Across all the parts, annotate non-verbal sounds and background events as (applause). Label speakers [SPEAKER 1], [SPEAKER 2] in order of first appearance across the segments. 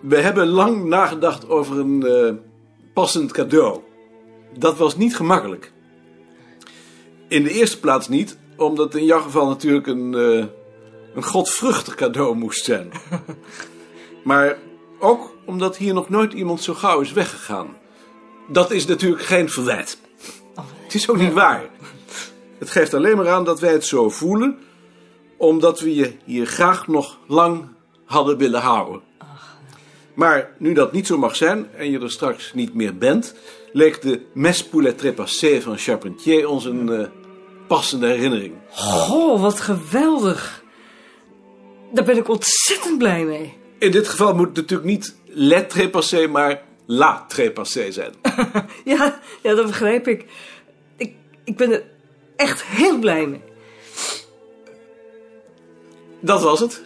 [SPEAKER 1] We hebben lang nagedacht over een eh, passend cadeau. Dat was niet gemakkelijk. In de eerste plaats niet, omdat in jouw geval natuurlijk een, eh, een godvruchtig cadeau moest zijn. maar ook omdat hier nog nooit iemand zo gauw is weggegaan. Dat is natuurlijk geen verwijt. Het is ook niet waar. Het geeft alleen maar aan dat wij het zo voelen, omdat we je hier graag nog lang hadden willen houden. Maar nu dat niet zo mag zijn en je er straks niet meer bent, leek de Mes pour les trépassés van Charpentier ons een eh, passende herinnering.
[SPEAKER 2] Goh, Oh, wat geweldig. Daar ben ik ontzettend blij mee.
[SPEAKER 1] In dit geval moet het natuurlijk niet les trépassés, maar la trépassés zijn. (laughs)
[SPEAKER 2] Ja, ja dat begrijp ik. ik. Ik ben er echt heel blij mee.
[SPEAKER 1] Dat was het.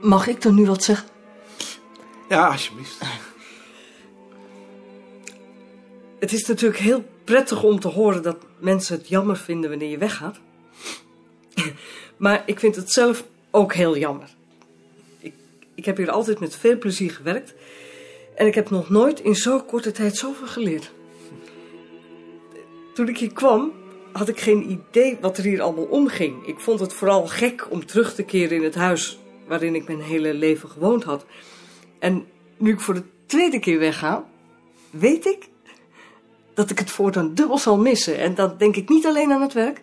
[SPEAKER 2] Mag ik dan nu wat zeggen?
[SPEAKER 1] Ja, alsjeblieft.
[SPEAKER 2] Het is natuurlijk heel prettig om te horen dat mensen het jammer vinden wanneer je weggaat. (laughs) maar ik vind het zelf ook heel jammer. Ik, ik heb hier altijd met veel plezier gewerkt. En ik heb nog nooit in zo'n korte tijd zoveel geleerd. Toen ik hier kwam, had ik geen idee wat er hier allemaal omging. Ik vond het vooral gek om terug te keren in het huis waarin ik mijn hele leven gewoond had. En nu ik voor de tweede keer wegga, weet ik dat ik het voortaan dubbel zal missen. En dan denk ik niet alleen aan het werk,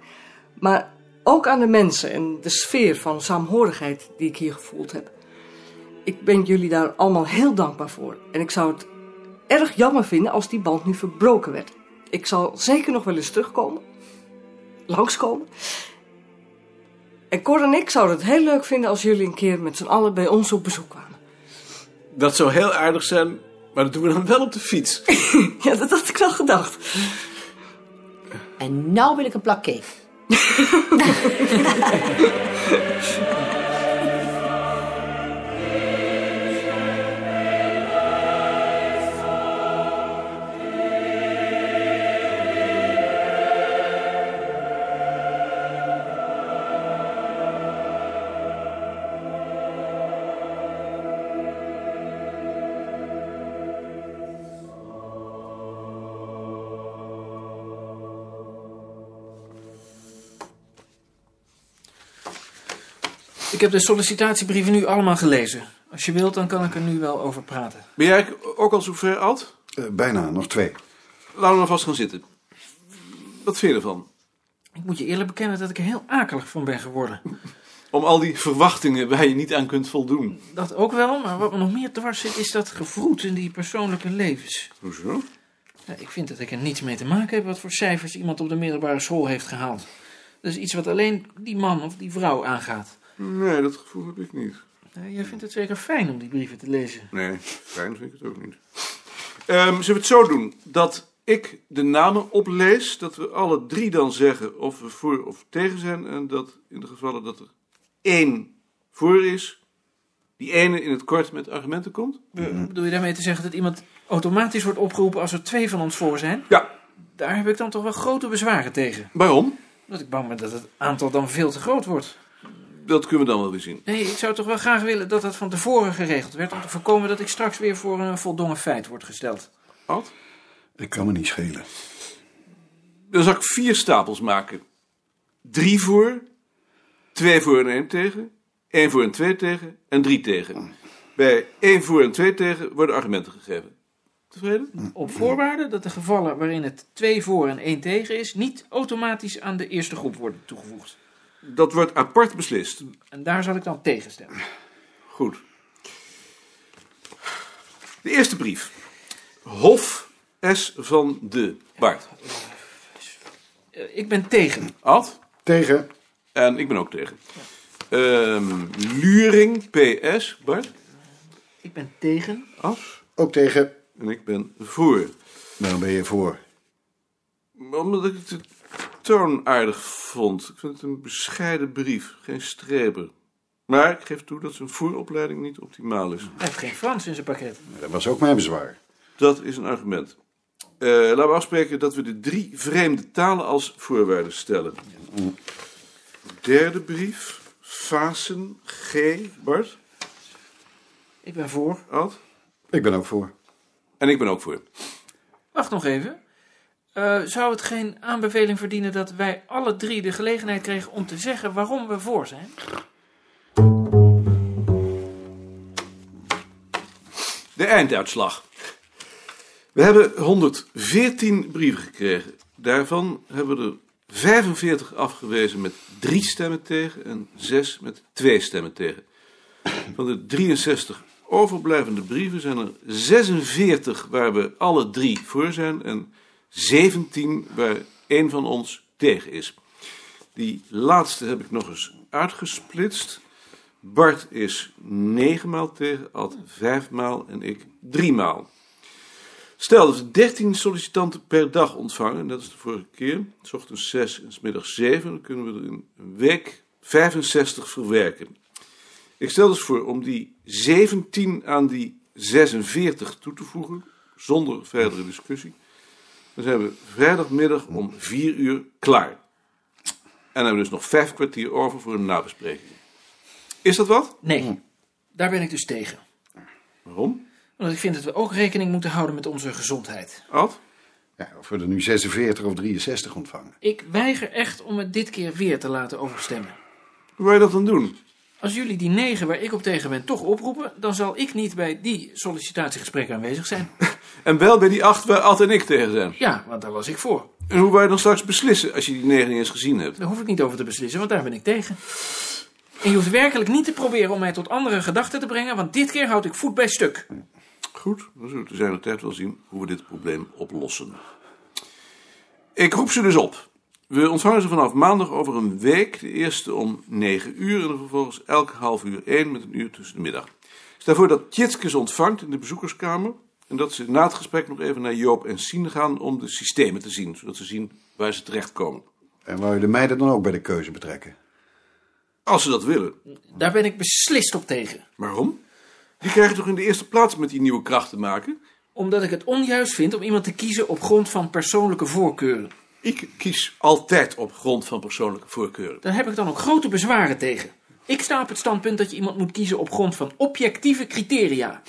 [SPEAKER 2] maar ook aan de mensen en de sfeer van saamhorigheid die ik hier gevoeld heb. Ik ben jullie daar allemaal heel dankbaar voor. En ik zou het erg jammer vinden als die band nu verbroken werd. Ik zal zeker nog wel eens terugkomen, langskomen. En Cor en ik zouden het heel leuk vinden als jullie een keer met z'n allen bij ons op bezoek kwamen.
[SPEAKER 1] Dat zou heel aardig zijn, maar dat doen we dan wel op de fiets.
[SPEAKER 2] Ja, dat had ik wel gedacht.
[SPEAKER 3] En nou wil ik een plak cake.
[SPEAKER 4] Ik heb de sollicitatiebrieven nu allemaal gelezen. Als je wilt, dan kan ik er nu wel over praten.
[SPEAKER 1] Ben jij ook al zover oud?
[SPEAKER 5] Eh, bijna, nog twee.
[SPEAKER 1] Laten we nou vast gaan zitten. Wat vind je ervan?
[SPEAKER 4] Ik moet je eerlijk bekennen dat ik er heel akelig van ben geworden.
[SPEAKER 1] Om al die verwachtingen waar je niet aan kunt voldoen.
[SPEAKER 4] Dat ook wel, maar wat me nog meer dwars zit, is dat gevroet in die persoonlijke levens.
[SPEAKER 1] Hoezo?
[SPEAKER 4] Ja, ik vind dat ik er niets mee te maken heb wat voor cijfers iemand op de middelbare school heeft gehaald. Dat is iets wat alleen die man of die vrouw aangaat.
[SPEAKER 1] Nee, dat gevoel heb ik niet.
[SPEAKER 4] Ja, jij vindt het zeker fijn om die brieven te lezen.
[SPEAKER 1] Nee, fijn vind ik het ook niet. Ehm, zullen we het zo doen? Dat ik de namen oplees, dat we alle drie dan zeggen of we voor of tegen zijn. En dat in de gevallen dat er één voor is, die ene in het kort met argumenten komt.
[SPEAKER 4] Be- Bedoel je daarmee te zeggen dat iemand automatisch wordt opgeroepen als er twee van ons voor zijn?
[SPEAKER 1] Ja,
[SPEAKER 4] Daar heb ik dan toch wel grote bezwaren tegen.
[SPEAKER 1] waarom?
[SPEAKER 4] Omdat ik bang ben dat het aantal dan veel te groot wordt.
[SPEAKER 1] Dat kunnen we dan wel weer zien.
[SPEAKER 4] Nee, ik zou toch wel graag willen dat dat van tevoren geregeld werd... om te voorkomen dat ik straks weer voor een voldongen feit word gesteld.
[SPEAKER 1] Ad?
[SPEAKER 5] Ik kan me niet schelen.
[SPEAKER 1] Dan zal ik vier stapels maken. Drie voor, twee voor en één tegen, één voor en twee tegen en drie tegen. Bij één voor en twee tegen worden argumenten gegeven. Tevreden?
[SPEAKER 4] Op voorwaarde dat de gevallen waarin het twee voor en één tegen is... niet automatisch aan de eerste groep worden toegevoegd.
[SPEAKER 1] Dat wordt apart beslist.
[SPEAKER 4] En daar zal ik dan tegen stemmen.
[SPEAKER 1] Goed. De eerste brief. Hof S. van de Baart.
[SPEAKER 4] Eh, Ik ben tegen.
[SPEAKER 1] Ad.
[SPEAKER 5] Tegen.
[SPEAKER 1] En ik ben ook tegen. Ehm, Luring PS. Bart.
[SPEAKER 4] Ik ben tegen.
[SPEAKER 1] Ad.
[SPEAKER 5] Ook tegen.
[SPEAKER 1] En ik ben voor.
[SPEAKER 5] Waarom ben je voor?
[SPEAKER 1] Omdat ik het de toon aardig vond. Ik vind het een bescheiden brief. Geen strepen. Maar ik geef toe dat zijn vooropleiding niet optimaal is.
[SPEAKER 4] Hij heeft geen Frans in zijn pakket.
[SPEAKER 5] Dat was ook mijn bezwaar.
[SPEAKER 1] Dat is een argument. Eh, laten we afspreken dat we de drie vreemde talen als voorwaarde stellen. Derde brief, Fasen G, Bart.
[SPEAKER 4] Ik ben voor.
[SPEAKER 1] Ad?
[SPEAKER 5] Ik ben ook voor.
[SPEAKER 1] En ik ben ook voor.
[SPEAKER 4] Wacht nog even. Eh, zou het geen aanbeveling verdienen dat wij alle drie de gelegenheid kregen om te zeggen waarom we voor zijn?
[SPEAKER 1] De einduitslag. We hebben 114 brieven gekregen. Daarvan hebben we er 45 afgewezen met drie stemmen tegen en zes met twee stemmen tegen. Van de 63 overblijvende brieven zijn er 46 waar we alle drie voor zijn en 17 waar één van ons tegen is. Die laatste heb ik nog eens uitgesplitst. Bart is negen maal tegen, Ad vijf maal en ik drie maal. Stel dat we 13 sollicitanten per dag ontvangen, dat is de vorige keer, s ochtends 6 en s middags 7, dan kunnen we er in een week 65 verwerken. Ik stel dus voor om die 17 aan die 46 toe te voegen, zonder verdere discussie. Dan zijn we vrijdagmiddag om 4 uur klaar. En dan hebben we dus nog vijf kwartier over voor een nabespreking. Is dat wat?
[SPEAKER 4] Nee, daar ben ik dus tegen.
[SPEAKER 1] Waarom?
[SPEAKER 4] Omdat ik vind dat we ook rekening moeten houden met onze gezondheid.
[SPEAKER 1] Ad?
[SPEAKER 5] Ja, of we er nu 46 of 63 ontvangen.
[SPEAKER 4] Ik weiger echt om het dit keer weer te laten overstemmen.
[SPEAKER 1] Hoe wil je dat dan doen?
[SPEAKER 4] Als jullie die negen waar ik op tegen ben toch oproepen, dan zal ik niet bij die sollicitatiegesprekken aanwezig (laughs) zijn.
[SPEAKER 1] En wel bij die acht waar Ad en ik tegen zijn.
[SPEAKER 4] Ja, want daar was ik voor.
[SPEAKER 1] En hoe wij dan straks beslissen als je die negen niet eens gezien hebt?
[SPEAKER 4] Daar hoef ik niet over te beslissen, want daar ben ik tegen. En je hoeft werkelijk niet te proberen om mij tot andere gedachten te brengen, want dit keer houd ik voet bij stuk.
[SPEAKER 1] Goed, dan zullen we te zijn tijd wel zien hoe we dit probleem oplossen. Ik roep ze dus op. We ontvangen ze vanaf maandag over een week. De eerste om 9 uur en dan vervolgens elke half uur één met een uur tussen de middag. Ik stel voor dat Tjitske ze ontvangt in de bezoekerskamer. En dat ze na het gesprek nog even naar Joop en Sien gaan om de systemen te zien. Zodat ze zien waar ze terechtkomen.
[SPEAKER 5] En wou je de meiden dan ook bij de keuze betrekken?
[SPEAKER 1] Als ze dat willen.
[SPEAKER 4] Daar ben ik beslist op tegen.
[SPEAKER 1] Waarom? Die krijgen toch in de eerste plaats met die nieuwe kracht te maken?
[SPEAKER 4] Omdat ik het onjuist vind om iemand te kiezen op grond van persoonlijke voorkeuren.
[SPEAKER 1] Ik kies altijd op grond van persoonlijke voorkeuren.
[SPEAKER 4] Daar heb ik dan ook grote bezwaren tegen. Ik sta op het standpunt dat je iemand moet kiezen op grond van objectieve criteria.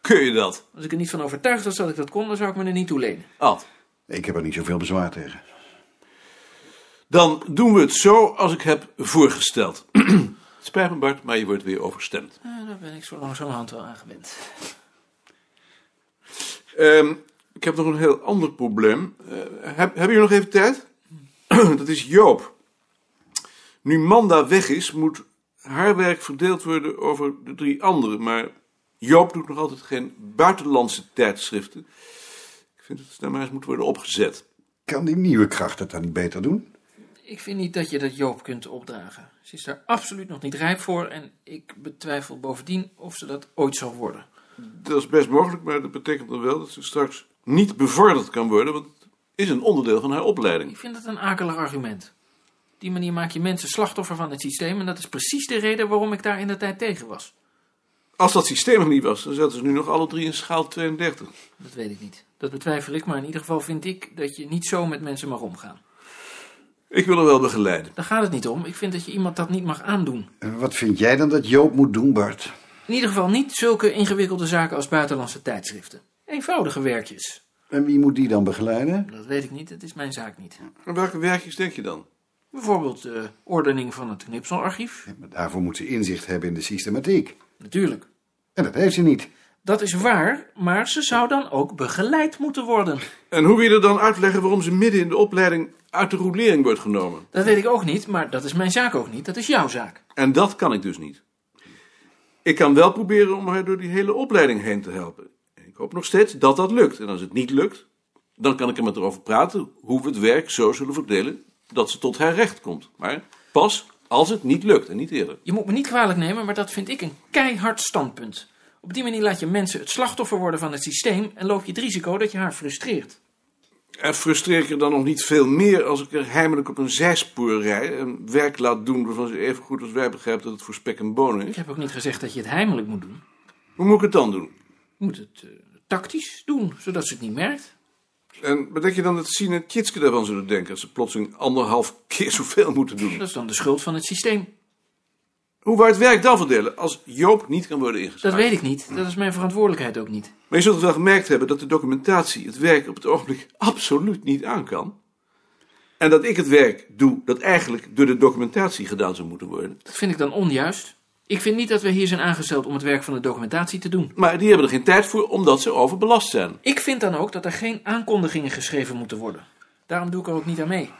[SPEAKER 1] Kun je dat?
[SPEAKER 4] Als ik er niet van overtuigd was dat ik dat kon, dan zou ik me er niet toe lenen.
[SPEAKER 1] Ad.
[SPEAKER 5] Ik heb er niet zoveel bezwaar tegen.
[SPEAKER 1] Dan doen we het zo als ik heb voorgesteld. (clears throat) Het Spijt me Bart, maar je wordt weer overstemd.
[SPEAKER 4] Nou, daar ben ik zo langzamerhand wel aan gewend.
[SPEAKER 1] Ehm, ik heb nog een heel ander probleem. Eh, heb, hebben jullie nog even tijd? (clears throat) Dat is Joop. Nu Manda weg is, moet haar werk verdeeld worden over de drie anderen. Maar Joop doet nog altijd geen buitenlandse tijdschriften. Ik vind dat ze daar maar eens moet worden opgezet.
[SPEAKER 5] Kan die nieuwe kracht het dan niet beter doen?
[SPEAKER 4] Ik vind niet dat je dat Joop kunt opdragen. Ze is daar absoluut nog niet rijp voor en ik betwijfel bovendien of ze dat ooit zal worden.
[SPEAKER 1] Dat is best mogelijk, maar dat betekent dan wel dat ze straks niet bevorderd kan worden, want het is een onderdeel van haar opleiding.
[SPEAKER 4] Ik vind dat een akelig argument. Op die manier maak je mensen slachtoffer van het systeem en dat is precies de reden waarom ik daar in de tijd tegen was.
[SPEAKER 1] Als dat systeem er niet was, dan zaten ze nu nog alle drie in schaal 32.
[SPEAKER 4] Dat weet ik niet. Dat betwijfel ik, maar in ieder geval vind ik dat je niet zo met mensen mag omgaan.
[SPEAKER 1] Ik wil er wel begeleiden.
[SPEAKER 4] Daar gaat het niet om. Ik vind dat je iemand dat niet mag aandoen.
[SPEAKER 5] En wat vind jij dan dat Joop moet doen, Bart?
[SPEAKER 4] In ieder geval niet zulke ingewikkelde zaken als buitenlandse tijdschriften. Eenvoudige werkjes.
[SPEAKER 5] En wie moet die dan begeleiden?
[SPEAKER 4] Dat weet ik niet, dat is mijn zaak niet.
[SPEAKER 1] Aan welke werkjes denk je dan?
[SPEAKER 4] Bijvoorbeeld de ordening van het Knipselarchief.
[SPEAKER 5] Maar daarvoor moet ze inzicht hebben in de systematiek.
[SPEAKER 4] Natuurlijk.
[SPEAKER 5] En dat heeft ze niet.
[SPEAKER 4] Dat is waar, maar ze zou dan ook begeleid moeten worden.
[SPEAKER 1] En hoe wil je er dan uitleggen waarom ze midden in de opleiding uit de roelering wordt genomen?
[SPEAKER 4] Dat weet ik ook niet, maar dat is mijn zaak ook niet. Dat is jouw zaak.
[SPEAKER 1] En dat kan ik dus niet. Ik kan wel proberen om haar door die hele opleiding heen te helpen. En Ik hoop nog steeds dat dat lukt. En als het niet lukt, dan kan ik er met haar over praten hoe we het werk zo zullen verdelen dat ze tot haar recht komt. Maar pas als het niet lukt en niet eerder.
[SPEAKER 4] Je moet me niet kwalijk nemen, maar dat vind ik een keihard standpunt. Op die manier laat je mensen het slachtoffer worden van het systeem en loop je het risico dat je haar frustreert.
[SPEAKER 1] En frustreer ik er dan nog niet veel meer als ik er heimelijk op een zijspoor rij en werk laat doen waarvan ze even goed als wij begrijpt dat het voor spek en bonen
[SPEAKER 4] Ik
[SPEAKER 1] is?
[SPEAKER 4] heb ook niet gezegd dat je het heimelijk moet doen.
[SPEAKER 1] Hoe moet ik het dan doen?
[SPEAKER 4] Je moet het eh, tactisch doen, zodat ze het niet merkt.
[SPEAKER 1] En wat denk je dan dat Sien en Tjitske daarvan zullen (laughs) denken? Dat ze plotseling anderhalf keer zoveel moeten doen.
[SPEAKER 4] Dat is dan de schuld van het systeem.
[SPEAKER 1] Hoe wij het werk dan verdelen als Joop niet kan worden ingezet?
[SPEAKER 4] Dat weet ik niet. Dat is mijn verantwoordelijkheid ook niet.
[SPEAKER 1] Maar je zult het wel gemerkt hebben dat de documentatie het werk op het ogenblik (laughs) absoluut niet aan kan. En dat ik het werk doe dat eigenlijk door de documentatie gedaan zou moeten worden.
[SPEAKER 4] Dat vind ik dan onjuist. Ik vind niet dat we hier zijn aangesteld om het werk van de documentatie te doen.
[SPEAKER 1] Maar die hebben er geen tijd voor omdat ze overbelast zijn.
[SPEAKER 4] Ik vind dan ook dat er geen aankondigingen geschreven moeten worden. Daarom doe ik er ook niet aan mee.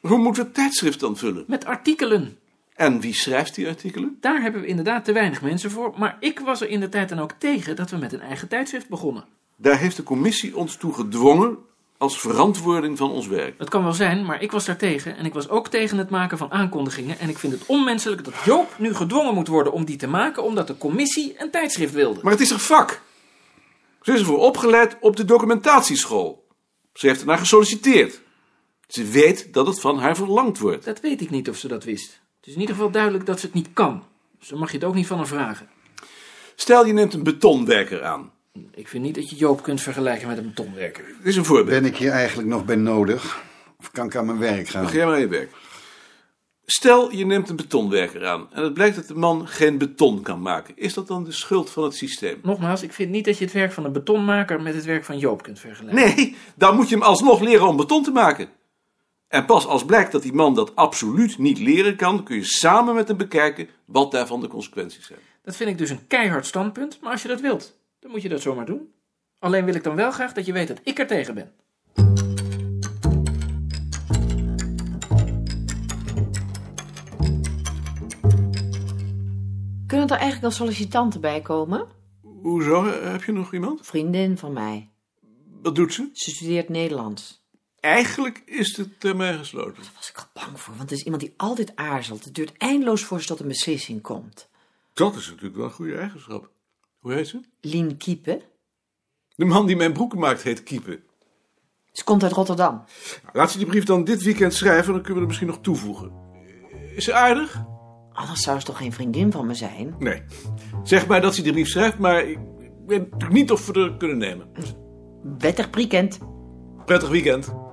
[SPEAKER 1] Hoe moeten we het tijdschrift dan vullen?
[SPEAKER 4] Met artikelen.
[SPEAKER 1] En wie schrijft die artikelen?
[SPEAKER 4] Daar hebben we inderdaad te weinig mensen voor. Maar ik was er in de tijd dan ook tegen dat we met een eigen tijdschrift begonnen.
[SPEAKER 1] Daar heeft de commissie ons toe gedwongen als verantwoording van ons werk.
[SPEAKER 4] Het kan wel zijn, maar ik was daar tegen. En ik was ook tegen het maken van aankondigingen. En ik vind het onmenselijk dat Joop nu gedwongen moet worden om die te maken. omdat de commissie een tijdschrift wilde.
[SPEAKER 1] Maar het is haar vak. Ze is ervoor opgeleid op de documentatieschool. Ze heeft ernaar gesolliciteerd. Ze weet dat het van haar verlangd wordt.
[SPEAKER 4] Dat weet ik niet of ze dat wist. Het is in ieder geval duidelijk dat ze het niet kan. Dus dan mag je het ook niet van haar vragen.
[SPEAKER 1] Stel je neemt een betonwerker aan.
[SPEAKER 4] Ik vind niet dat je Joop kunt vergelijken met een betonwerker.
[SPEAKER 1] Dit is een voorbeeld.
[SPEAKER 5] Ben ik hier eigenlijk nog bij nodig? Of kan ik aan mijn werk gaan?
[SPEAKER 1] Ga jij maar aan je werk. Stel je neemt een betonwerker aan en het blijkt dat de man geen beton kan maken. Is dat dan de schuld van het systeem?
[SPEAKER 4] Nogmaals, ik vind niet dat je het werk van een betonmaker met het werk van Joop kunt vergelijken.
[SPEAKER 1] Nee, dan moet je hem alsnog leren om beton te maken. En pas als blijkt dat die man dat absoluut niet leren kan, kun je samen met hem bekijken wat daarvan de consequenties zijn.
[SPEAKER 4] Dat vind ik dus een keihard standpunt, maar als je dat wilt, dan moet je dat zomaar doen. Alleen wil ik dan wel graag dat je weet dat ik er tegen ben.
[SPEAKER 3] Kunnen er eigenlijk nog sollicitanten bij komen?
[SPEAKER 1] Hoezo? Heb je nog iemand?
[SPEAKER 3] Vriendin van mij.
[SPEAKER 1] Wat doet ze?
[SPEAKER 3] Ze studeert Nederlands.
[SPEAKER 1] Eigenlijk is de termijn gesloten.
[SPEAKER 3] Daar was ik al bang voor, want het is iemand die altijd aarzelt. Het duurt eindeloos voor ze tot een beslissing komt.
[SPEAKER 1] Dat is natuurlijk wel een goede eigenschap. Hoe heet ze?
[SPEAKER 3] Lien Kiepen.
[SPEAKER 1] De man die mijn broeken maakt heet Kiepen.
[SPEAKER 3] Ze komt uit Rotterdam.
[SPEAKER 1] Laat ze die brief dan dit weekend schrijven en dan kunnen we er misschien nog toevoegen. Eh, Is ze aardig?
[SPEAKER 3] Anders zou ze toch geen vriendin van me zijn?
[SPEAKER 1] Nee. Zeg maar dat ze die brief schrijft, maar ik weet natuurlijk niet of we er kunnen nemen.
[SPEAKER 3] Wettig weekend.
[SPEAKER 1] Prettig weekend.